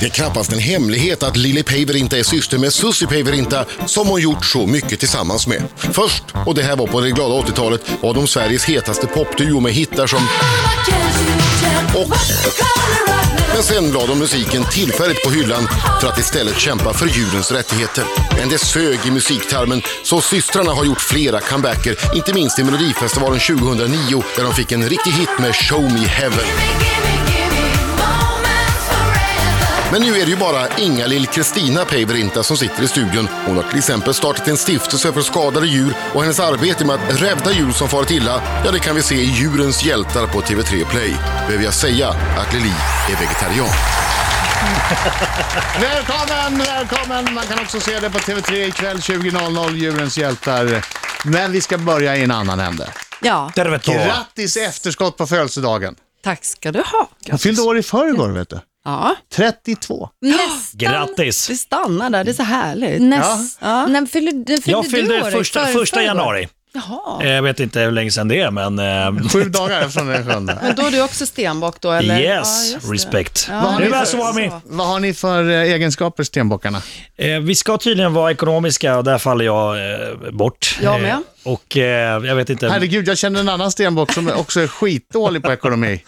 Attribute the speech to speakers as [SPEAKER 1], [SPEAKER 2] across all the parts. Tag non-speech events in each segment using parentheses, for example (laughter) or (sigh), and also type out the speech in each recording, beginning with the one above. [SPEAKER 1] Det är knappast en hemlighet att Lili Päivärinta är syster med Susie Päivärinta som hon gjort så mycket tillsammans med. Först, och det här var på det glada 80-talet, var de Sveriges hetaste popduo med hittar som och... Men sen la de musiken tillfälligt på hyllan för att istället kämpa för djurens rättigheter. Men det sög i musiktarmen så systrarna har gjort flera comebacker, inte minst i Melodifestivalen 2009 där de fick en riktig hit med Show Me Heaven. Men nu är det ju bara Inga-Lill Kristina Päivärinta som sitter i studion. Hon har till exempel startat en stiftelse för skadade djur och hennes arbete med att rädda djur som farit illa, ja det kan vi se i Djurens hjältar på TV3 Play. Behöver jag säga att Lili är vegetarian?
[SPEAKER 2] Välkommen, välkommen! Man kan också se det på TV3 ikväll 20.00, Djurens hjältar. Men vi ska börja i en annan ände.
[SPEAKER 3] Ja,
[SPEAKER 4] Dervetå.
[SPEAKER 2] Grattis i efterskott på födelsedagen.
[SPEAKER 3] tack ska du ha.
[SPEAKER 2] Hon fyllde år i förrgår, vet du.
[SPEAKER 3] Ja.
[SPEAKER 2] 32.
[SPEAKER 5] Nästan.
[SPEAKER 4] Grattis!
[SPEAKER 3] Vi stannar där, det är så härligt.
[SPEAKER 5] Näst, När fyllde, när fyllde
[SPEAKER 4] Jag
[SPEAKER 5] du
[SPEAKER 4] fyllde
[SPEAKER 5] året?
[SPEAKER 4] första,
[SPEAKER 5] Före
[SPEAKER 4] första
[SPEAKER 5] förrgår?
[SPEAKER 4] januari. Eh, Jag vet inte hur länge sedan det är, men... eh,
[SPEAKER 2] Sju dagar från den sjunde.
[SPEAKER 3] Men då är du också stenbock då eller?
[SPEAKER 4] Yes,
[SPEAKER 3] Ja, just det.
[SPEAKER 4] respect.
[SPEAKER 3] Ja,
[SPEAKER 2] Nu
[SPEAKER 4] nu
[SPEAKER 2] är
[SPEAKER 4] är
[SPEAKER 2] det
[SPEAKER 4] Swami.
[SPEAKER 2] Vad har ni för eh, egenskaper, stenbockarna?
[SPEAKER 4] Eh, vi ska tydligen vara ekonomiska och där faller jag eh, bort.
[SPEAKER 3] Jag med.
[SPEAKER 4] Eh, och eh, jag vet inte...
[SPEAKER 2] Herregud, jag känner en annan stenbock som också är skitdålig på ekonomi.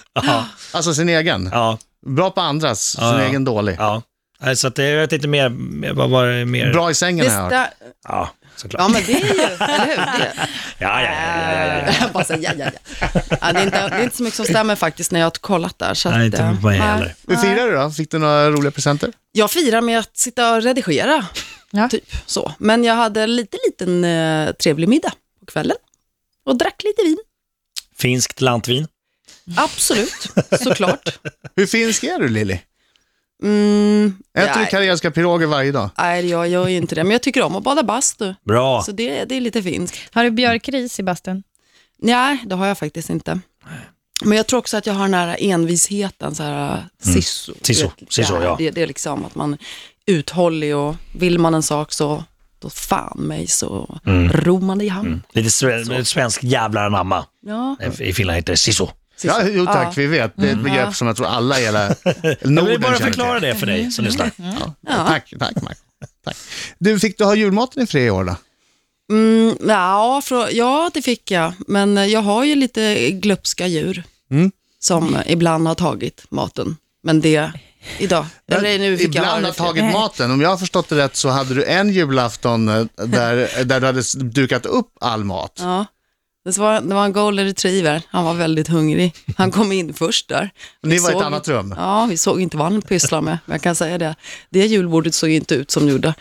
[SPEAKER 2] Alltså sin egen.
[SPEAKER 4] Ja,
[SPEAKER 2] Bra på andras, sin
[SPEAKER 4] Ja, ja.
[SPEAKER 2] egen dålig.
[SPEAKER 4] ja. Eh, Så att, eh, jag vet inte mer, mer- vad var det mer?
[SPEAKER 2] Bra i sängen
[SPEAKER 3] Det
[SPEAKER 2] har jag hört.
[SPEAKER 3] sta-
[SPEAKER 4] Ja, såklart.
[SPEAKER 3] ja, men det är ju, eller hur? Det-
[SPEAKER 4] Ja, ja, ja, ja, ja, ja.
[SPEAKER 3] Jag (laughs) bara säger, ja, ja, ja. ja det, är inte, det är inte så mycket som stämmer faktiskt när jag har kollat där. Så
[SPEAKER 4] Nej,
[SPEAKER 3] att,
[SPEAKER 4] inte
[SPEAKER 3] eh,
[SPEAKER 4] på mig
[SPEAKER 3] nej.
[SPEAKER 4] heller.
[SPEAKER 2] Hur firar du då? Fick du några roliga presenter?
[SPEAKER 3] Jag firar med att sitta och redigera,
[SPEAKER 5] Ja.
[SPEAKER 3] typ så. Men jag hade lite liten eh, trevlig middag på kvällen och drack lite vin.
[SPEAKER 4] Finskt lantvin.
[SPEAKER 3] Absolut, såklart.
[SPEAKER 2] Hur finsk är du Lilly?
[SPEAKER 3] Mm,
[SPEAKER 2] Äter du
[SPEAKER 3] nej,
[SPEAKER 2] karelska piroger varje dag?
[SPEAKER 3] nej, jag gör ju inte det, men jag tycker om att bada bastu.
[SPEAKER 4] Bra.
[SPEAKER 3] Så det, det är lite finskt.
[SPEAKER 5] Har du björkris i bastun?
[SPEAKER 3] Nej, det har jag faktiskt inte. Men jag tror också att jag har den här envisheten, så här äh,
[SPEAKER 2] Mm.
[SPEAKER 3] sisso.
[SPEAKER 4] Sisso,
[SPEAKER 3] Vet,
[SPEAKER 4] sisso,
[SPEAKER 3] det här,
[SPEAKER 4] ja.
[SPEAKER 3] Det, det är liksom att man är uthållig och vill man en sak så då fan mig så
[SPEAKER 2] Mm.
[SPEAKER 3] ror man det i hamn.
[SPEAKER 4] Lite sve- svensk jävlar anamma.
[SPEAKER 3] Ja,
[SPEAKER 4] I Finland heter det siso.
[SPEAKER 2] Ja,
[SPEAKER 3] sisso.
[SPEAKER 2] jo tack,
[SPEAKER 3] Ja.
[SPEAKER 2] vi vet. Det är ett begrepp som jag tror alla i
[SPEAKER 3] (laughs)
[SPEAKER 2] hela
[SPEAKER 4] Jag
[SPEAKER 2] Norden
[SPEAKER 4] vill bara
[SPEAKER 2] känner
[SPEAKER 4] förklara
[SPEAKER 2] till.
[SPEAKER 4] det för dig som lyssnar. (laughs)
[SPEAKER 2] Ja. Tack, tack Marco. Tack. Du, fick du ha julmaten i fred i år då?
[SPEAKER 3] Mm, ja, frå- ja, det fick jag. Men eh, jag har ju lite glupska djur
[SPEAKER 2] Mm.
[SPEAKER 3] som eh, ibland har tagit maten. Men det, idag, eller nu fick jag
[SPEAKER 2] Ibland
[SPEAKER 3] höra
[SPEAKER 2] har
[SPEAKER 3] det fel.
[SPEAKER 2] tagit maten. Om jag har förstått det rätt så hade du en julafton eh,
[SPEAKER 3] (laughs)
[SPEAKER 2] där, där du hade s- dukat upp all mat.
[SPEAKER 3] Ja. Det var, det var en golden retriever. Han var väldigt hungrig. Han kom in först där. Vi
[SPEAKER 2] Ni var i ett
[SPEAKER 3] såg-
[SPEAKER 2] annat rum.
[SPEAKER 3] Ja, vi såg inte vad han pysslade med. Men jag kan säga det. Det julbordet såg ju inte ut som det gjorde.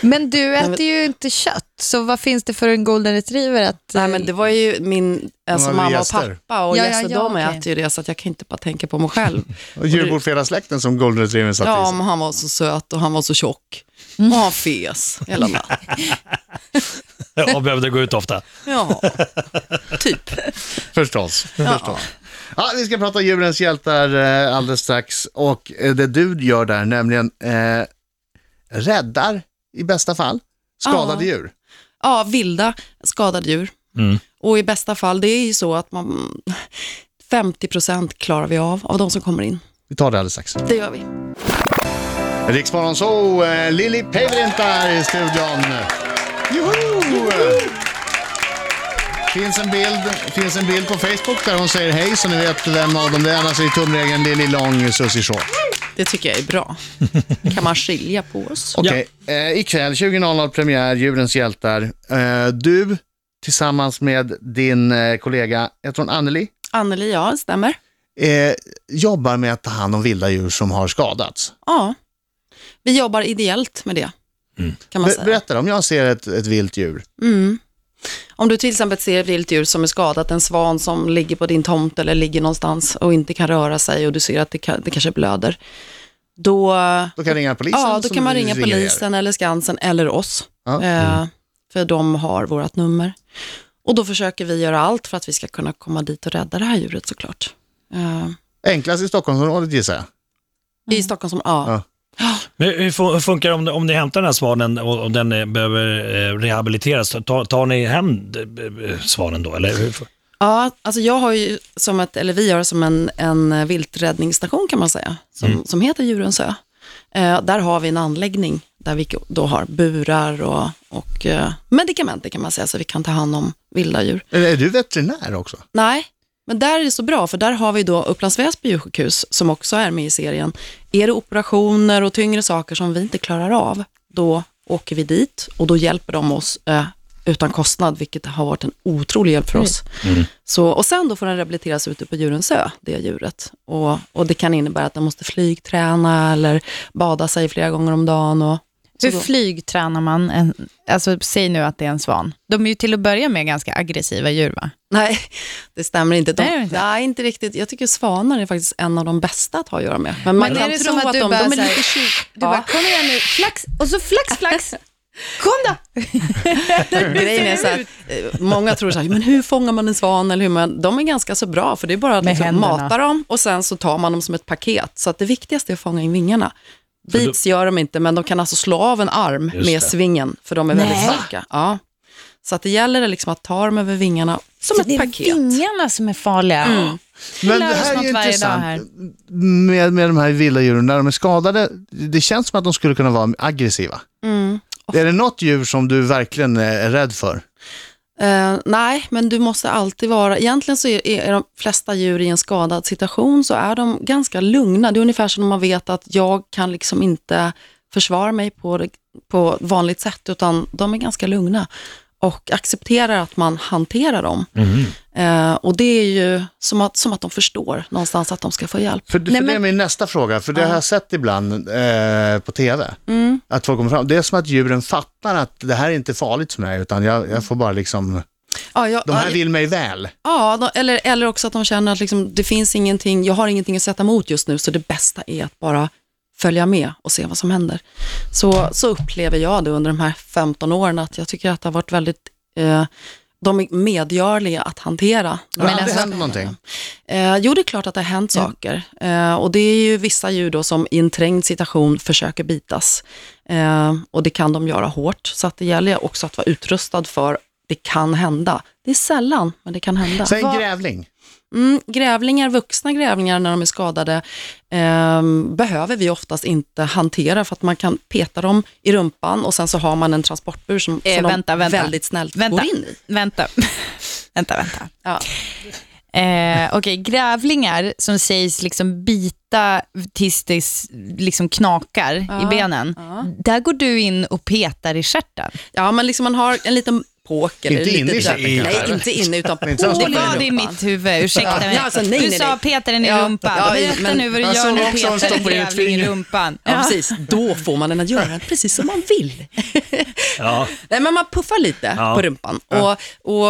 [SPEAKER 5] Men du äter ju inte kött, så vad finns det för en golden retriever att... eh,
[SPEAKER 3] Nej, men det var ju min alltså,
[SPEAKER 2] hade
[SPEAKER 3] mamma och
[SPEAKER 2] gäster.
[SPEAKER 3] pappa och
[SPEAKER 5] Ja, ja,
[SPEAKER 3] gäster.
[SPEAKER 5] ja,
[SPEAKER 3] de
[SPEAKER 5] okej.
[SPEAKER 3] äter ju det, så att jag kan inte bara tänka på
[SPEAKER 2] (laughs)
[SPEAKER 3] mig själv.
[SPEAKER 2] Och julbord för hela släkten som Golden Retriever satt i
[SPEAKER 3] Ja,
[SPEAKER 2] sig.
[SPEAKER 3] men han var så söt och han var så tjock. Och han fes hela
[SPEAKER 5] (laughs)
[SPEAKER 3] natten.
[SPEAKER 4] Och behövde gå ut ofta.
[SPEAKER 3] Ja, typ.
[SPEAKER 2] Förstås.
[SPEAKER 3] Ja.
[SPEAKER 2] Ja, vi ska prata Djurens hjältar eh, alldeles strax och eh, det du gör där, nämligen eh, räddar i bästa fall skadade
[SPEAKER 3] Ja.
[SPEAKER 2] djur.
[SPEAKER 3] ja, vilda skadade djur.
[SPEAKER 4] Mm.
[SPEAKER 3] Och i bästa fall, det är ju så att man, 50% klarar vi av, av de som kommer in.
[SPEAKER 2] Vi tar det alldeles strax.
[SPEAKER 3] Det gör vi.
[SPEAKER 2] Riksmorgon så, eh, Lili Päivärinta här i studion. Joho! Finns en, bild, finns en bild på Facebook där hon säger hej så ni vet vem av dem det är. Annars är tumregeln Lili Lång, Susie Shaw.
[SPEAKER 3] Det tycker jag är (laughs) bra. kan man skilja på oss?
[SPEAKER 2] Okej, eh, ikväll 20.00 premiär, Djurens hjältar. Eh, du tillsammans med din eh, kollega, jag tror hon Anneli,
[SPEAKER 3] Anneli, ja, det stämmer.
[SPEAKER 2] eh, jobbar med att ta hand om vilda djur som har skadats.
[SPEAKER 3] Ja, vi jobbar ideellt med det. Kan man
[SPEAKER 2] Be-
[SPEAKER 3] säga.
[SPEAKER 2] berätta om jag ser ett, ett vilt djur.
[SPEAKER 3] Om du till exempel ser ett vilt djur som är skadat, en svan som ligger på din tomt eller ligger någonstans och inte kan röra sig och du ser att det, kan, det kanske blöder, då,
[SPEAKER 2] Då kan jag ringa polisen.
[SPEAKER 3] ja, då
[SPEAKER 2] som
[SPEAKER 3] kan man ringa
[SPEAKER 2] ringer er.
[SPEAKER 3] polisen eller Skansen eller oss.
[SPEAKER 2] Ja.
[SPEAKER 3] Eh, För de har vårt nummer. Och då försöker vi göra allt för att vi ska kunna komma dit och rädda det här djuret såklart. Eh,
[SPEAKER 2] Enklast i Stockholmsområdet gissar jag.
[SPEAKER 3] I Stockholm som Mm. ja.
[SPEAKER 2] Ja.
[SPEAKER 4] Men hur fu- hur funkar det om, om ni hämtar den här svanen och, och den eh, behöver eh, rehabiliteras? Tar, tar ni hem eh, eh, svanen då? Eller hur? fu-
[SPEAKER 3] Ja, alltså jag har ju som ett, eller vi har som en, en vilträddningsstation kan man säga, som, som heter Djurens ö. Eh, där har vi en anläggning där vi då har burar och, och eh, medikamenter kan man säga, så vi kan ta hand om vilda djur.
[SPEAKER 2] Eller är du veterinär också?
[SPEAKER 3] Nej, men där är det så bra, för där har vi då Upplands Väsby djursjukhus, som också är med i serien. Är det operationer och tyngre saker som vi inte klarar av, då åker vi dit och då hjälper de oss eh, utan kostnad, vilket har varit en otrolig hjälp för oss. Så, och sen då får den rehabiliteras ute på djurens ö, det djuret. Och, och det kan innebära att den måste flygträna eller bada sig flera gånger om dagen. Och, så
[SPEAKER 5] Hur
[SPEAKER 3] då-
[SPEAKER 5] flygtränar man en, alltså säg nu att det är en svan. De är ju till att börja med ganska aggressiva djur va?
[SPEAKER 3] Nej, det stämmer inte. De,
[SPEAKER 5] Nej, det är
[SPEAKER 3] nej, inte.
[SPEAKER 5] inte.
[SPEAKER 3] riktigt. Jag tycker svanar är faktiskt en av de bästa att ha att göra med. Men man
[SPEAKER 5] Men är
[SPEAKER 3] kan
[SPEAKER 5] det
[SPEAKER 3] tro
[SPEAKER 5] som
[SPEAKER 3] att,
[SPEAKER 5] att du
[SPEAKER 3] de,
[SPEAKER 5] bara
[SPEAKER 3] de är
[SPEAKER 5] så här-
[SPEAKER 3] lite tjuv...
[SPEAKER 5] Du bara, kom igen nu, flax, och så flax,
[SPEAKER 3] (laughs)
[SPEAKER 5] flax. Kom då!
[SPEAKER 3] Grejen är så här, eh, många tror så här, men hur fångar man en svan? Eller hur man, de är ganska så bra, för det är bara att
[SPEAKER 5] Med
[SPEAKER 3] liksom
[SPEAKER 5] händerna.
[SPEAKER 3] mata dem och sen så tar man dem som ett paket. Så att det viktigaste är att fånga in vingarna. Beats gör de inte, men de kan alltså slå av en arm
[SPEAKER 4] Just
[SPEAKER 3] med
[SPEAKER 4] det.
[SPEAKER 3] svingen, för de är väldigt starka. Ja. Så att det gäller liksom att ta dem över vingarna som
[SPEAKER 5] det
[SPEAKER 3] ett
[SPEAKER 5] är
[SPEAKER 3] paket.
[SPEAKER 5] vingarna som är farliga.
[SPEAKER 2] Men
[SPEAKER 5] lär
[SPEAKER 2] det
[SPEAKER 5] oss
[SPEAKER 2] här är
[SPEAKER 5] något
[SPEAKER 2] ju
[SPEAKER 5] varje dag
[SPEAKER 2] intressant
[SPEAKER 5] här.
[SPEAKER 2] med, med de här vilda djuren. När de är skadade, det känns som att de skulle kunna vara aggressiva.
[SPEAKER 3] Mm.
[SPEAKER 2] Är det något djur som du verkligen är rädd för?
[SPEAKER 3] Eh, nej, men du måste alltid vara... Egentligen så är, är de flesta djur i en skadad situation så är de ganska lugna. Det är ungefär som om man vet att jag kan liksom inte försvara mig på, det- på vanligt sätt, utan de är ganska lugna och accepterar att man hanterar dem.
[SPEAKER 2] Mhm.
[SPEAKER 3] Eh, och det är ju som att, som att de förstår någonstans att de ska få hjälp.
[SPEAKER 2] För, för
[SPEAKER 5] Nej,
[SPEAKER 2] det är
[SPEAKER 5] men-
[SPEAKER 2] min nästa fråga, för det har jag sett ibland eh, på tv.
[SPEAKER 5] Mm.
[SPEAKER 2] Att folk kommer fram. Det är som att djuren fattar att det här är inte farligt för mig, utan jag, jag får bara liksom,
[SPEAKER 3] Ja, jag,
[SPEAKER 2] de här
[SPEAKER 3] ja,
[SPEAKER 2] vill mig väl.
[SPEAKER 3] Ja, de, eller, eller också att de känner att liksom, det finns ingenting, jag har ingenting att sätta emot just nu, så det bästa är att bara följa med och se vad som händer. Så, så upplever jag det under de här 15 åren, att jag tycker att det har varit väldigt, eh, de är medgörliga att hantera.
[SPEAKER 2] Men alltså-
[SPEAKER 5] aldrig
[SPEAKER 2] hänt någonting?
[SPEAKER 3] Eh, jo, det är klart att det har hänt saker. Eh, och det är ju vissa djur då som i en trängd situation försöker bitas. Eh, och det kan de göra hårt, så att det gäller ju också att vara utrustad för det kan hända. Det är sällan, men det kan hända.
[SPEAKER 2] Säg en
[SPEAKER 5] Vad-
[SPEAKER 2] grävling.
[SPEAKER 3] Mm, grävlingar, vuxna grävlingar när de är skadade, ehm, behöver vi oftast inte hantera för att man kan peta dem i rumpan och sen så har man en transportbur som,
[SPEAKER 5] Eh,
[SPEAKER 3] som
[SPEAKER 5] vänta,
[SPEAKER 3] de
[SPEAKER 5] vänta.
[SPEAKER 3] väldigt snällt
[SPEAKER 5] Vänta.
[SPEAKER 3] går in i.
[SPEAKER 5] Vänta, (laughs) vänta, vänta.
[SPEAKER 3] Ja.
[SPEAKER 5] Eh, Okej, grävlingar som sägs liksom bita tills det s- liksom knakar i benen. Där går du in och petar i stjärten.
[SPEAKER 3] ja, men liksom man har en liten påk. Eller
[SPEAKER 2] Inte
[SPEAKER 3] lite
[SPEAKER 2] inne i
[SPEAKER 3] där-
[SPEAKER 2] käken
[SPEAKER 3] Nej,
[SPEAKER 2] kanske.
[SPEAKER 3] inte inne utan
[SPEAKER 2] (laughs)
[SPEAKER 3] på.
[SPEAKER 2] Inte ens
[SPEAKER 5] Det
[SPEAKER 2] Stoppar i
[SPEAKER 5] var det i
[SPEAKER 3] rumpan.
[SPEAKER 5] mitt huvud, ursäkta mig.
[SPEAKER 3] Ja, alltså, nej,
[SPEAKER 5] du
[SPEAKER 3] nej,
[SPEAKER 5] sa
[SPEAKER 3] nej.
[SPEAKER 5] petar den i
[SPEAKER 3] Ja,
[SPEAKER 5] rumpan.
[SPEAKER 3] ja,
[SPEAKER 5] Berätta
[SPEAKER 3] men-
[SPEAKER 5] nu vad du
[SPEAKER 2] Jag
[SPEAKER 5] gör
[SPEAKER 2] såg
[SPEAKER 5] när du
[SPEAKER 2] också hon
[SPEAKER 5] petar en
[SPEAKER 2] stoppar ut
[SPEAKER 5] grävling i
[SPEAKER 2] fingret.
[SPEAKER 5] rumpan.
[SPEAKER 3] Ja, precis. Då får man den att
[SPEAKER 4] (laughs)
[SPEAKER 3] göra precis som man vill.
[SPEAKER 4] Ja.
[SPEAKER 3] Nej, men man puffar lite
[SPEAKER 4] Ja.
[SPEAKER 3] på rumpan och,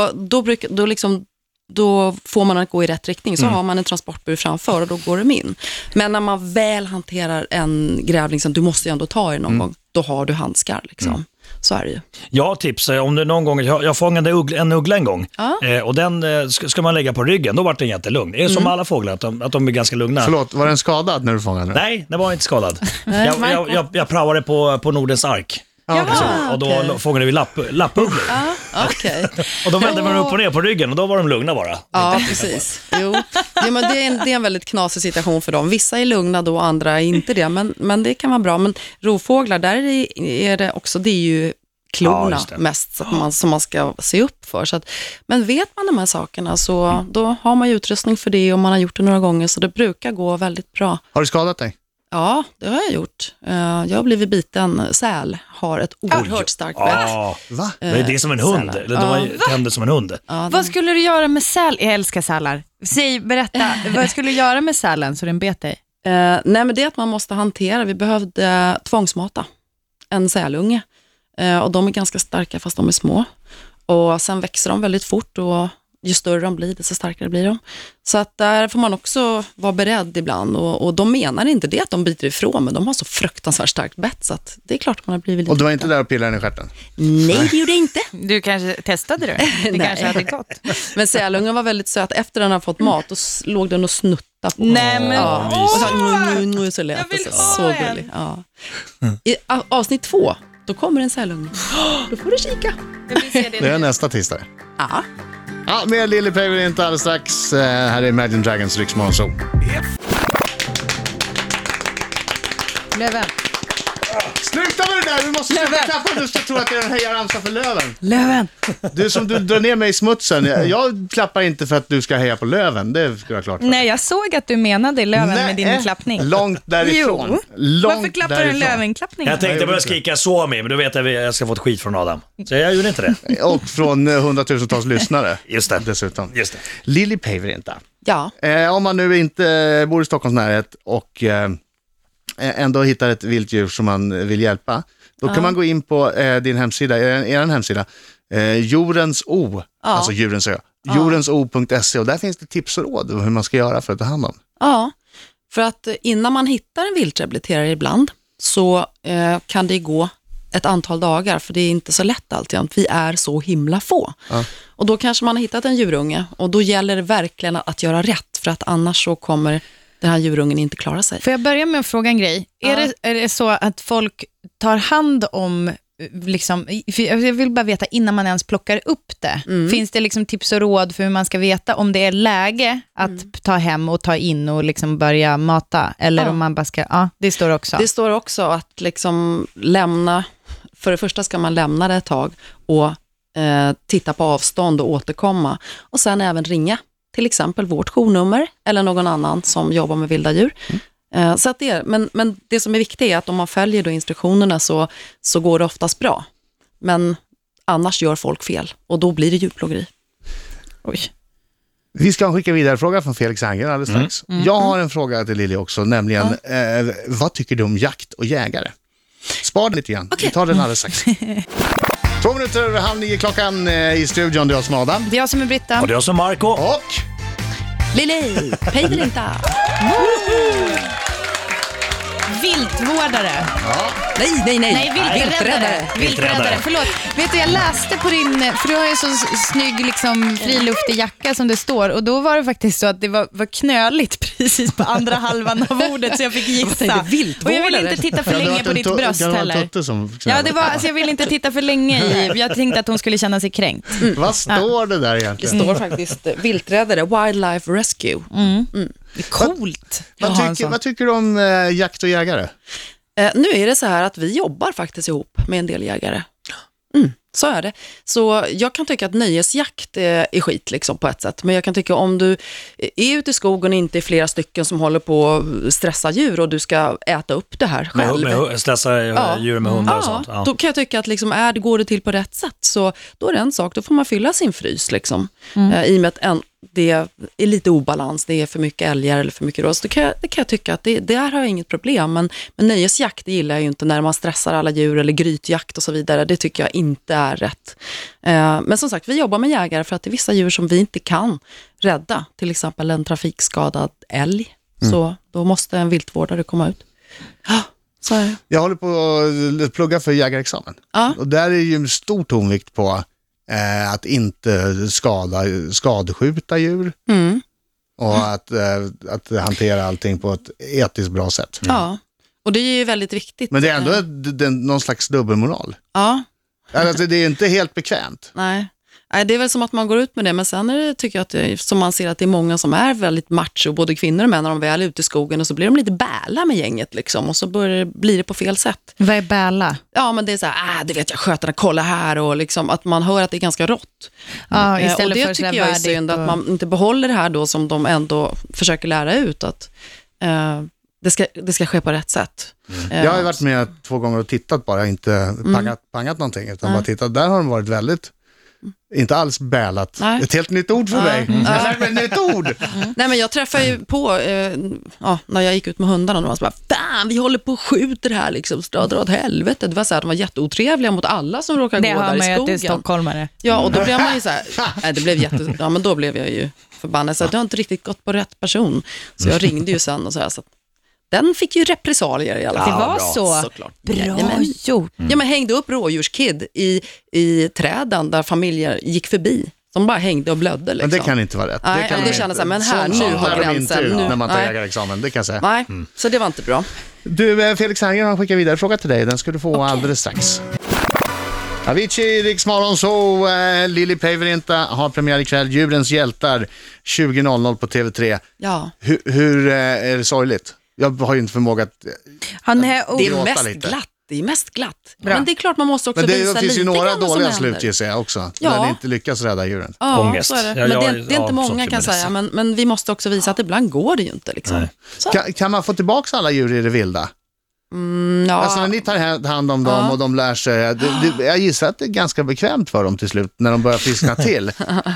[SPEAKER 3] och då, brukar, då, liksom, då får man att gå i rätt riktning. Så
[SPEAKER 4] Mm.
[SPEAKER 3] har man en transportbur framför och då går de in. Men när man väl hanterar en grävling, som du måste ju ändå ta i någon
[SPEAKER 4] Mm.
[SPEAKER 3] gång, då har du handskar. Liksom. Så är det ju.
[SPEAKER 4] Jag har tips, eh, om du någon gång, jag, jag fångade uggl, en uggla en gång
[SPEAKER 3] Ja.
[SPEAKER 4] eh, och den eh, ska, ska man lägga på ryggen, då vart den jättelugn. Det är som alla fåglar, att de, att de är ganska lugna.
[SPEAKER 2] Förlåt, var den skadad när du fångade den?
[SPEAKER 4] Nej, den var inte skadad. jag, jag, jag, jag praoade på, på Nordens ark.
[SPEAKER 2] Ja, okej.
[SPEAKER 4] Så, och då
[SPEAKER 3] okej.
[SPEAKER 4] fångade vi lapp, lappugglor.
[SPEAKER 3] (laughs) Okej.
[SPEAKER 4] Och då vände man upp och ner på ryggen och då var de lugna bara.
[SPEAKER 3] Ja, precis. Jo. Ja, men det, är en, det är en väldigt knasig situation för dem. Vissa är lugna då, andra är inte det. Men, men det kan vara bra. Men rovfåglar, där är det, är det också, det är ju
[SPEAKER 4] Ja,
[SPEAKER 3] klorna
[SPEAKER 4] just det.
[SPEAKER 3] mest som man, som man ska se upp för. Så att, men vet man de här sakerna
[SPEAKER 4] Mm.
[SPEAKER 3] så då har man ju utrustning för det och man har gjort det några gånger så det brukar gå väldigt bra.
[SPEAKER 2] Har du skadat dig?
[SPEAKER 3] Ja, det har jag gjort. Eh, Jag har blivit biten. Säl har ett oerhört starkt bett.
[SPEAKER 4] Ja,
[SPEAKER 2] Va?
[SPEAKER 4] det
[SPEAKER 3] Eh,
[SPEAKER 4] är det är som en hund.
[SPEAKER 3] Sällan.
[SPEAKER 4] Eller De var ju tända som en hund.
[SPEAKER 3] Ja,
[SPEAKER 5] Vad skulle du göra med säl? Jag älskar sälar.
[SPEAKER 3] (laughs)
[SPEAKER 5] Säg, berätta. Vad skulle du göra med sälen så den bet dig?
[SPEAKER 3] Eh, nej, men det är att man måste hantera. Vi behövde tvångsmata en sälunge. Eh, och de är ganska starka fast de är små. Och sen växer de väldigt fort och ju större de blir, desto starkare blir de. Så att där får man också vara beredd ibland. Och, och de menar inte det att de biter ifrån, men de har så fruktansvärt starkt bett, så att det är klart att man har blivit lite...
[SPEAKER 2] Och du var inte där och pillade den i stjärten?
[SPEAKER 3] Nej, det gjorde jag inte.
[SPEAKER 5] Du kanske testade det? Det
[SPEAKER 3] Nej.
[SPEAKER 5] kanske hade gått.
[SPEAKER 3] Men sälungen var väldigt söt. Efter den har fått mat, då s- låg den och snuttade på
[SPEAKER 5] Nej, men-
[SPEAKER 3] ja.
[SPEAKER 4] Åh,
[SPEAKER 3] Och så, nu, nu, nu, så lät
[SPEAKER 5] Jag
[SPEAKER 3] det
[SPEAKER 5] vill
[SPEAKER 3] så,
[SPEAKER 5] ha
[SPEAKER 3] så
[SPEAKER 5] en.
[SPEAKER 3] gullig. Ja. I a- avsnitt två, då kommer en sälunge. Då får du kika.
[SPEAKER 2] Det är nästa tisdag.
[SPEAKER 3] Ja.
[SPEAKER 2] Ja, mer Lille Paver inte alldeles strax. Eh, Här är Imagine Dragons Riksmorgon Zoo.
[SPEAKER 5] Löven.
[SPEAKER 2] Sluta med det där! Du måste sluta
[SPEAKER 5] Löven.
[SPEAKER 2] klappa du ska tro att det är en hejaramsa för Löven.
[SPEAKER 5] Löven.
[SPEAKER 2] Du som du drar ner mig i smutsen. Jag, jag klappar inte för att du ska heja på Löven, det ska jag ha klart för.
[SPEAKER 5] Nej, jag såg att du menade löven med
[SPEAKER 2] Nej,
[SPEAKER 5] din klappning.
[SPEAKER 2] Långt därifrån.
[SPEAKER 5] Jo.
[SPEAKER 2] Långt
[SPEAKER 5] Varför klappar
[SPEAKER 2] därifrån.
[SPEAKER 5] du en lövenklappning?
[SPEAKER 4] Jag tänkte börja skrika Suomi, men då vet jag att jag ska få ett skit från Adam. Så jag gjorde inte det.
[SPEAKER 3] (laughs)
[SPEAKER 2] Och från eh, hundratusentals
[SPEAKER 5] (laughs)
[SPEAKER 2] lyssnare.
[SPEAKER 4] Just det.
[SPEAKER 2] Dessutom.
[SPEAKER 4] Just det.
[SPEAKER 2] Lili Päivärinta.
[SPEAKER 3] Ja,
[SPEAKER 2] Eh, om man nu inte eh, bor i Stockholms närhet och eh, ändå hittar ett vilddjur som man vill hjälpa, då kan man gå in på eh, din hemsida, er, er hemsida, eh, Djurens O, alltså Djurens Ö, djurenso.se och där finns det tips och råd om hur man ska göra för att ta hand om.
[SPEAKER 3] ja. För att eh, innan man hittar en viltrehabiliterare ibland så eh, kan det gå ett antal dagar, för det är inte så lätt alltjämt. Vi är så himla få. Och då kanske man har hittat en djurunge och då gäller det verkligen att göra rätt, för att annars så kommer den här djurungen inte klara sig.
[SPEAKER 5] Får jag börja med att fråga en grej? Är, det, är det så att folk tar hand om eh, Liksom, för jag jag vill bara veta innan man ens plockar upp det. Finns det liksom tips och råd för hur man ska veta om det är läge att ta hem och ta in och liksom börja mata? Eller
[SPEAKER 3] Ja.
[SPEAKER 5] om man bara ska... Mm. Ja, det står också.
[SPEAKER 3] Det står också att liksom lämna, för det första ska man lämna det ett tag och eh, titta på avstånd och återkomma. Och sen även ringa, till exempel vårt journummer eller någon annan som jobbar med vilda djur. Eh, så att det är, men, men det som är viktigt är att om man följer då instruktionerna så, så går det oftast bra. Men annars gör folk fel och då blir det djurplågeri.
[SPEAKER 5] Oj.
[SPEAKER 2] Vi ska skicka vidare en fråga från Felix Hanger alldeles strax. Jag har en fråga till Lili också, nämligen eh, vad tycker du om jakt och jägare? Spar den lite grann, vi tar den alldeles strax. Två minuter över halv nio klockan eh, i studion, det är jag som är Adam.
[SPEAKER 5] Det är jag som är Britta.
[SPEAKER 4] Och det var som Marco.
[SPEAKER 2] Och
[SPEAKER 3] Lili, pejdelita!
[SPEAKER 5] Viltvårdare.
[SPEAKER 3] Nej, nej, nej!
[SPEAKER 5] Nej, vilträddare. vilträddare.
[SPEAKER 4] Vilträddare.
[SPEAKER 5] Förlåt. Vet du, jag läste på din, för du har ju en så s- snygg liksom, friluftig jacka som det står och då var det faktiskt så att det var, var knöligt (laughs) precis på andra halvan av ordet så
[SPEAKER 3] (laughs)
[SPEAKER 5] jag fick
[SPEAKER 3] tänkte,
[SPEAKER 5] gissa.
[SPEAKER 3] viltvårdare?
[SPEAKER 5] Och jag vill inte titta för
[SPEAKER 2] Kan det ha
[SPEAKER 5] länge
[SPEAKER 2] varit
[SPEAKER 5] på
[SPEAKER 2] en
[SPEAKER 5] ditt
[SPEAKER 2] tu-
[SPEAKER 5] bröst
[SPEAKER 2] kan det ha varit en
[SPEAKER 5] heller.
[SPEAKER 2] tutte som
[SPEAKER 5] Ja, det var, alltså jag vill inte titta för länge i, jag tänkte att hon skulle känna sig kränkt.
[SPEAKER 2] Vad står det där
[SPEAKER 3] Det
[SPEAKER 2] egentligen?
[SPEAKER 3] står faktiskt eh, vilträddare, wildlife rescue.
[SPEAKER 5] Det är coolt. att ha en
[SPEAKER 2] Vad tycker,
[SPEAKER 5] sån.
[SPEAKER 2] vad tycker du om eh, jakt och jägare?
[SPEAKER 3] Eh, nu är det så här att vi jobbar faktiskt ihop med en del jägare. Mm, så är det. Så jag kan tycka att nöjesjakt är, är skit liksom på ett sätt. Men jag kan tycka om du eh, är ute i skogen och inte är flera stycken som håller på att stressa djur och du ska äta upp det här
[SPEAKER 4] Med,
[SPEAKER 3] själv.
[SPEAKER 4] med, hu- stressa eh,
[SPEAKER 3] Ja.
[SPEAKER 4] djur med hundar och sånt. Ja.
[SPEAKER 3] Då kan jag tycka att liksom, är, det- går det till på rätt sätt, så då är det en sak, då får man fylla sin frys. Liksom. Eh, I och med att en, det är lite obalans, det är för mycket älgar eller för mycket rås. Då kan jag, det kan jag tycka att det, där har jag inget problem, men, men nöjesjakt det gillar jag ju inte när man stressar alla djur eller grytjakt och så vidare. Det tycker jag inte är rätt. Eh, men som sagt, vi jobbar med jägare för att det är vissa djur som vi inte kan rädda, till exempel en trafikskadad älg. Så då måste en viltvårdare komma ut. Mm. Ja, så är det.
[SPEAKER 2] Jag håller på att plugga för jägarexamen.
[SPEAKER 3] Ja.
[SPEAKER 2] Och där är ju en stor tonvikt på eh, att inte skada, skadskjuta djur
[SPEAKER 3] Mm.
[SPEAKER 2] och att, eh, att hantera allting på ett etiskt bra sätt.
[SPEAKER 3] Ja, och det är ju väldigt viktigt.
[SPEAKER 2] Men det är ändå ett, det, någon slags dubbelmoral.
[SPEAKER 3] Ja,
[SPEAKER 2] Alltså, det är inte helt bekvämt.
[SPEAKER 3] nej. nej. Det är väl som att man går ut med det, men sen är det, tycker jag att det, som man ser att det är många som är väldigt macho, både kvinnor och män, när de väl är ute i skogen och så blir de lite bäla med gänget liksom och så börjar, det- blir det på fel sätt.
[SPEAKER 5] Vad är bäla?
[SPEAKER 3] Ja, men det är så här, ah, det vet jag, skötarna, kolla här och liksom att man hör att det är ganska rått.
[SPEAKER 5] Ja,
[SPEAKER 3] Eh,
[SPEAKER 5] istället
[SPEAKER 3] och det
[SPEAKER 5] för
[SPEAKER 3] tycker jag är synd, att man inte behåller det här då som de ändå försöker lära ut, att eh, det, ska, det ska ske på rätt sätt. Eh, Mm.
[SPEAKER 2] Jag har ju varit med två gånger och tittat bara, inte pangat, pangat någonting, utan bara tittat. Där har de varit väldigt, inte alls bälat.
[SPEAKER 3] Mm. Nej. Mm.
[SPEAKER 2] Ett helt nytt ord för mig. (laughs) Jag har lärt mig ett nytt ord.
[SPEAKER 3] Nej men jag träffade ju på, eh, ja, när jag gick ut med hundarna, de var så bara, fan vi håller på och skjuter här liksom, så dra dra åt helvete. Det var så här, de var jätteotrevliga mot alla som råkade
[SPEAKER 5] Det
[SPEAKER 3] gå
[SPEAKER 5] hör
[SPEAKER 3] där
[SPEAKER 5] man ju
[SPEAKER 3] i
[SPEAKER 5] att det är
[SPEAKER 3] skogen.
[SPEAKER 5] stockholmare.
[SPEAKER 3] Ja, och då blev man ju så här,
[SPEAKER 2] Mm. (laughs)
[SPEAKER 3] nej, det blev jätte, ja men då blev jag ju förbannad, så att jag har inte riktigt gått på rätt person. Så jag ringde ju sen och så här, så att, den fick ju repressalier i alla
[SPEAKER 5] Det
[SPEAKER 3] fall.
[SPEAKER 5] var så.
[SPEAKER 3] Såklart.
[SPEAKER 5] Bra
[SPEAKER 3] Jajamän.
[SPEAKER 5] gjort.
[SPEAKER 3] Ja,
[SPEAKER 2] Mm.
[SPEAKER 3] men hängde upp rådjurskid i, i träden där familjer gick förbi. De bara hängde och blödde. Liksom.
[SPEAKER 2] Men det kan inte vara rätt.
[SPEAKER 3] Nej,
[SPEAKER 2] kan
[SPEAKER 3] och
[SPEAKER 2] de
[SPEAKER 3] det känner
[SPEAKER 2] inte.
[SPEAKER 3] så här, men här,
[SPEAKER 2] Sånt
[SPEAKER 3] nu
[SPEAKER 2] tar
[SPEAKER 3] har
[SPEAKER 2] de
[SPEAKER 3] gränsen,
[SPEAKER 2] inte ut
[SPEAKER 3] nu.
[SPEAKER 2] när man tar
[SPEAKER 3] Nej.
[SPEAKER 2] jägarexamen, det kan jag säga.
[SPEAKER 3] Nej, så det var inte bra.
[SPEAKER 2] Du, eh, Felix Herngren har skickat vidare en fråga till dig. Den ska du få alldeles strax. Avicii, Rix Morgon Zoo, eh, Lili Päivärinta har premiär ikväll. Djurens hjältar, 20.00 på TV3.
[SPEAKER 3] Ja.
[SPEAKER 2] Hur, hur eh, är det sorgligt? Jag har ju inte förmåga att...
[SPEAKER 5] Han är
[SPEAKER 3] Det
[SPEAKER 5] o-
[SPEAKER 2] Gråta
[SPEAKER 3] är mest
[SPEAKER 2] lite.
[SPEAKER 3] glatt. Det är mest glatt.
[SPEAKER 5] Bra.
[SPEAKER 3] Men det är klart man måste också
[SPEAKER 2] Men det,
[SPEAKER 3] visa
[SPEAKER 2] finns
[SPEAKER 3] lite
[SPEAKER 2] ju några
[SPEAKER 3] grann vad som
[SPEAKER 2] dåliga
[SPEAKER 3] händer.
[SPEAKER 2] slut gissar jag också.
[SPEAKER 3] Ja.
[SPEAKER 2] Där ni inte lyckas rädda djuren.
[SPEAKER 3] Ja,
[SPEAKER 4] Ångest.
[SPEAKER 3] så är det.
[SPEAKER 4] Ja,
[SPEAKER 3] Men det,
[SPEAKER 4] jag-
[SPEAKER 3] är- det är
[SPEAKER 4] ja,
[SPEAKER 3] inte många
[SPEAKER 4] sånt
[SPEAKER 3] kan jag
[SPEAKER 4] är det.
[SPEAKER 3] säga, men, men vi måste också visa att ibland går det ju inte. Liksom.
[SPEAKER 4] Nej.
[SPEAKER 3] Så,
[SPEAKER 2] Kan, kan man få tillbaka alla djur i det vilda?
[SPEAKER 3] mm, ja.
[SPEAKER 2] Alltså när ni tar hand- hand om dem
[SPEAKER 3] Ja.
[SPEAKER 2] och de lär sig. eh, Det, det, jag gissar att det är ganska bekvämt för dem till slut när de börjar
[SPEAKER 3] (laughs)
[SPEAKER 2] friskna till.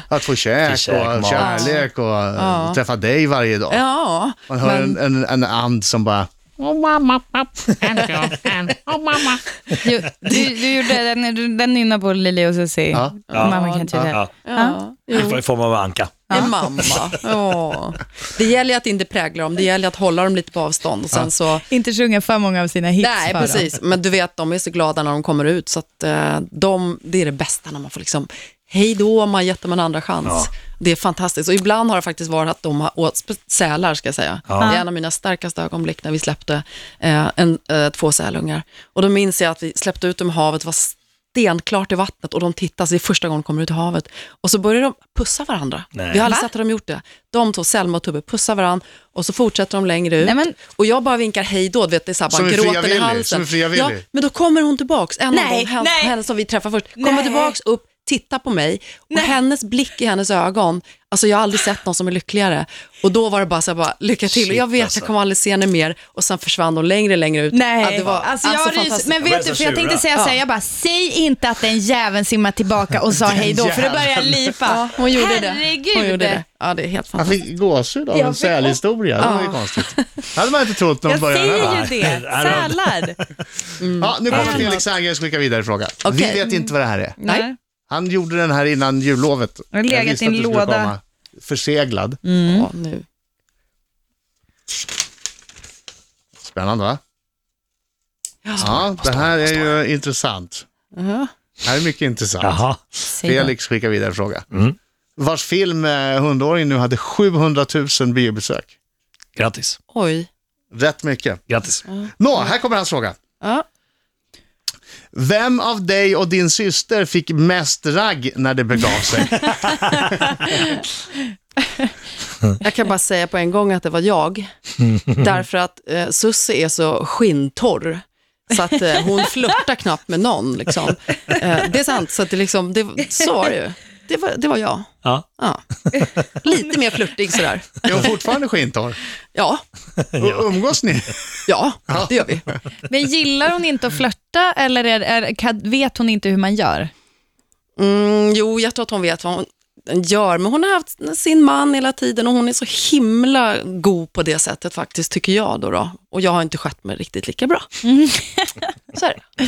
[SPEAKER 2] Att få käk
[SPEAKER 4] Till käk,
[SPEAKER 2] och
[SPEAKER 4] mat.
[SPEAKER 2] kärlek och eh, träffa dig varje dag.
[SPEAKER 3] ja,
[SPEAKER 2] Man hör en, en, en and som bara,
[SPEAKER 6] Oh, mama, pop, and John, and oh, mama.
[SPEAKER 5] ju- du, du gjorde den, du- den nynnar på Lili och Susie.
[SPEAKER 2] Ja.
[SPEAKER 5] Mamma kan inte göra det.
[SPEAKER 4] Ja,
[SPEAKER 3] ja. Jo.
[SPEAKER 4] I form av anka. (laughs)
[SPEAKER 3] En mamma. Ja. Det gäller ju att inte prägla dem, det gäller att hålla dem lite på avstånd. Och sen så,
[SPEAKER 5] Inte sjunga för många av sina hits
[SPEAKER 3] nej,
[SPEAKER 5] bara.
[SPEAKER 3] precis. Men du vet, de är så glada när de kommer ut, så att, eh, de, det är det bästa när man får liksom, hej då, man har gett dem en andra chans.
[SPEAKER 4] Ja.
[SPEAKER 3] Det är fantastiskt. Och ibland har det faktiskt varit att de har, och spe- sälar ska jag säga,
[SPEAKER 4] Ja.
[SPEAKER 3] det är en av mina starkaste ögonblick när vi släppte eh, en, eh, två sälungar. Och då minns jag att vi släppte ut dem i havet, det var stenklart i vattnet och de tittar, så det är första gången de kommer ut i havet. Och så börjar de pussa varandra.
[SPEAKER 4] Nej.
[SPEAKER 3] Vi har aldrig sett hur de gjort det. De två, Selma och Tubbe, pussar varandra och så fortsätter de längre ut.
[SPEAKER 5] Nej, men-
[SPEAKER 3] Och jag bara vinkar hej då, du vet, det är så här,
[SPEAKER 2] Som
[SPEAKER 3] bara
[SPEAKER 2] i Fria
[SPEAKER 3] gråten i
[SPEAKER 2] Willy,
[SPEAKER 3] halsen.
[SPEAKER 2] som i Fria
[SPEAKER 3] ja,
[SPEAKER 2] Willy.
[SPEAKER 3] men då kommer hon tillbaks, en av
[SPEAKER 5] Nej,
[SPEAKER 3] dem, henne,
[SPEAKER 5] nej.
[SPEAKER 3] henne som vi träffar först, kommer
[SPEAKER 5] Nej.
[SPEAKER 3] tillbaks upp, tittar på mig och hennes blick i hennes ögon, alltså jag har aldrig sett någon som är lyckligare. Och då var det bara så här, bara, lycka till.
[SPEAKER 4] Shit,
[SPEAKER 3] och jag vet,
[SPEAKER 4] alltså.
[SPEAKER 3] jag kommer aldrig se henne mer. Och sen försvann hon längre, längre ut.
[SPEAKER 5] Nej,
[SPEAKER 3] Ja, det var,
[SPEAKER 5] alltså, jag
[SPEAKER 3] fantastiskt.
[SPEAKER 5] ryser. Men
[SPEAKER 4] Jag börjar
[SPEAKER 5] vet du, för jag
[SPEAKER 4] så
[SPEAKER 5] tänkte
[SPEAKER 4] tjura.
[SPEAKER 5] säga så här, jag bara, säg inte att den jäveln simmar tillbaka och sa hej då, för då börjar jag lipa.
[SPEAKER 3] Ja, hon gjorde
[SPEAKER 5] Herregud.
[SPEAKER 3] det. Hon gjorde det. Ja, det är helt
[SPEAKER 2] jag
[SPEAKER 3] fantastiskt.
[SPEAKER 2] fick gåshud av en sälhistoria. Det var ju konstigt. Det hade man inte trott när de
[SPEAKER 5] Jag
[SPEAKER 2] började. här, va?
[SPEAKER 5] säger ju det,
[SPEAKER 4] Nej, nej.
[SPEAKER 5] sälar.
[SPEAKER 2] Ja, nu kommer Felix Herngren skicka vidare fråga. Vi
[SPEAKER 3] Okej.
[SPEAKER 2] vet inte vad det här är.
[SPEAKER 3] (laughs) Nej.
[SPEAKER 2] Han gjorde den här innan jullovet.
[SPEAKER 5] Den har
[SPEAKER 2] Jag
[SPEAKER 5] legat
[SPEAKER 2] visste
[SPEAKER 5] i en
[SPEAKER 2] att du skulle
[SPEAKER 5] låda. Mm.
[SPEAKER 2] komma. Förseglad.
[SPEAKER 3] Ja, nu.
[SPEAKER 2] Spännande va?
[SPEAKER 3] Ja.
[SPEAKER 2] Ja, det här är ju intressant.
[SPEAKER 3] Ja.
[SPEAKER 2] Det här är mycket intressant.
[SPEAKER 4] Jaha.
[SPEAKER 2] Felix skickar vidare fråga.
[SPEAKER 4] Mm.
[SPEAKER 2] Vars film eh, Hundåringen nu hade 700 000 biobesök.
[SPEAKER 4] Grattis.
[SPEAKER 3] Oj.
[SPEAKER 2] Rätt mycket.
[SPEAKER 4] Grattis.
[SPEAKER 2] Nå, här kommer hans fråga.
[SPEAKER 3] Ja.
[SPEAKER 2] Vem av dig och din syster fick mest ragg när det begav
[SPEAKER 5] (laughs)
[SPEAKER 2] sig?
[SPEAKER 3] Jag kan bara säga på en gång att det var jag. Därför att eh, Sussi är så skinntorr. Så att eh, hon flörtar knappt med någon. Liksom. Eh, det är sant, så, att det liksom, det, så var det ju. Det var, det var jag.
[SPEAKER 4] Ja.
[SPEAKER 3] Ja. Lite mer flörtig sådär.
[SPEAKER 2] Är hon fortfarande skintorr?
[SPEAKER 3] Ja,
[SPEAKER 2] Och Umgås ni?
[SPEAKER 3] ja, det gör vi.
[SPEAKER 5] Men gillar hon inte att flörta eller är, är, kan- vet hon inte hur man gör?
[SPEAKER 3] Mm, jo, jag tror att hon vet vad hon gör, men hon har haft sin man hela tiden och hon är så himla god på det sättet faktiskt, tycker jag. Då då. Och jag har inte skött mig riktigt lika bra. så är det.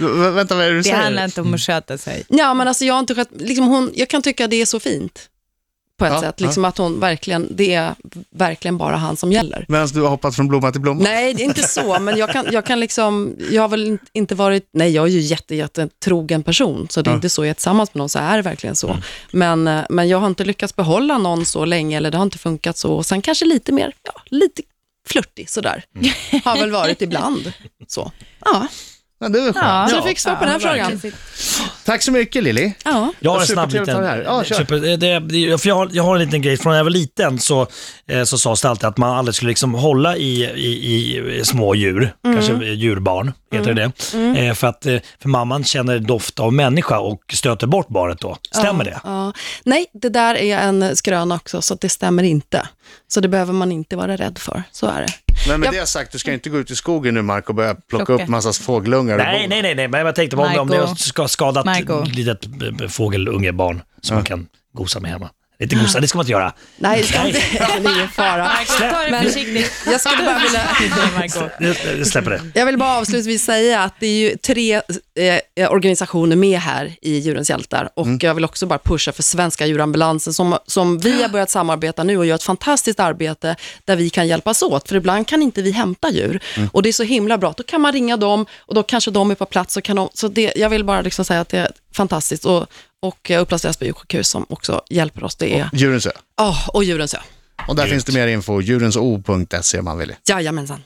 [SPEAKER 2] V- vänta, vad är det du
[SPEAKER 5] Det handlar
[SPEAKER 2] säger?
[SPEAKER 5] inte om att sköta sig.
[SPEAKER 3] Ja, men alltså jag har inte skött, liksom hon, jag kan tycka det är så fint på ett
[SPEAKER 2] Ja,
[SPEAKER 3] sätt, liksom att hon verkligen, det är verkligen bara han som gäller.
[SPEAKER 2] Medan du har hoppat från blomma till blomma?
[SPEAKER 3] Nej, det är inte så, men jag kan, jag kan liksom, jag har väl in- inte varit, nej jag är ju jätte, jätte trogen person, så det är inte så, jag är tillsammans med någon så är det verkligen så.
[SPEAKER 2] Mm.
[SPEAKER 3] Men, eh, men jag har inte lyckats behålla någon så länge, eller det har inte funkat så, och sen kanske lite mer, ja, lite flörtig sådär,
[SPEAKER 2] Mm.
[SPEAKER 3] har väl varit ibland. Så, ja,
[SPEAKER 2] Ja, det är väl skönt.
[SPEAKER 5] Ja.
[SPEAKER 3] så jag fick svar på den här frågan.
[SPEAKER 2] Tack så mycket Lili.
[SPEAKER 3] Ja.
[SPEAKER 4] Jag har en snabb
[SPEAKER 2] Supertrevligt att
[SPEAKER 4] liten...
[SPEAKER 2] ha det här. Ja, kör.
[SPEAKER 4] super, det, det, för jag, har, jag har en liten grej. Från när jag var liten så, eh, så sades det alltid att man aldrig skulle liksom hålla i, i, i små djur.
[SPEAKER 2] Mm.
[SPEAKER 4] Kanske djurbarn, heter det det? Eh, för att eh, för mamman känner doft av människa och stöter bort barnet då. Stämmer det?
[SPEAKER 3] Ja. Nej, det där är en skröna också, så att det stämmer inte. Så det behöver man inte vara rädd för. Så är det.
[SPEAKER 2] Men med
[SPEAKER 3] Jag-
[SPEAKER 2] det sagt, du ska inte gå ut i skogen nu Marco och börja plocka
[SPEAKER 5] Plocka.
[SPEAKER 2] upp massa fågelungar. och
[SPEAKER 4] Nej,
[SPEAKER 2] bon.
[SPEAKER 4] nej, nej, nej, men jag tänkte på om, om det har
[SPEAKER 5] Michael.
[SPEAKER 4] ska- skadat
[SPEAKER 5] Michael.
[SPEAKER 4] litet eh, b- b- fågelungebarn som man kan gosa med hemma. Inte gosa, det ska man inte göra.
[SPEAKER 3] Nej, det ska inte. Det är ingen fara.
[SPEAKER 5] Ta det
[SPEAKER 3] Men-
[SPEAKER 5] försiktigt.
[SPEAKER 3] (laughs) Jag skulle bara vilja...
[SPEAKER 4] Det- det släpper det.
[SPEAKER 3] Jag vill bara avslutningsvis säga att det är ju tre eh, organisationer med här i Djurens hjältar och jag vill också bara pusha för Svenska djurambulansen som, som vi har börjat samarbeta nu och gör ett fantastiskt arbete där vi kan hjälpas åt, för ibland kan inte vi hämta djur och det är så himla bra. Då kan man ringa dem och då kanske de är på plats. Och kan de, så det, jag vill bara liksom säga att det är fantastiskt och, och eh, Upplands Väsby djursjukhus som också hjälper oss. Det är,
[SPEAKER 2] Djurens ö.
[SPEAKER 3] oh, och Djurens ö.
[SPEAKER 2] Och där finns det mer info, djurensO.se om man vill.
[SPEAKER 3] Jajamensan.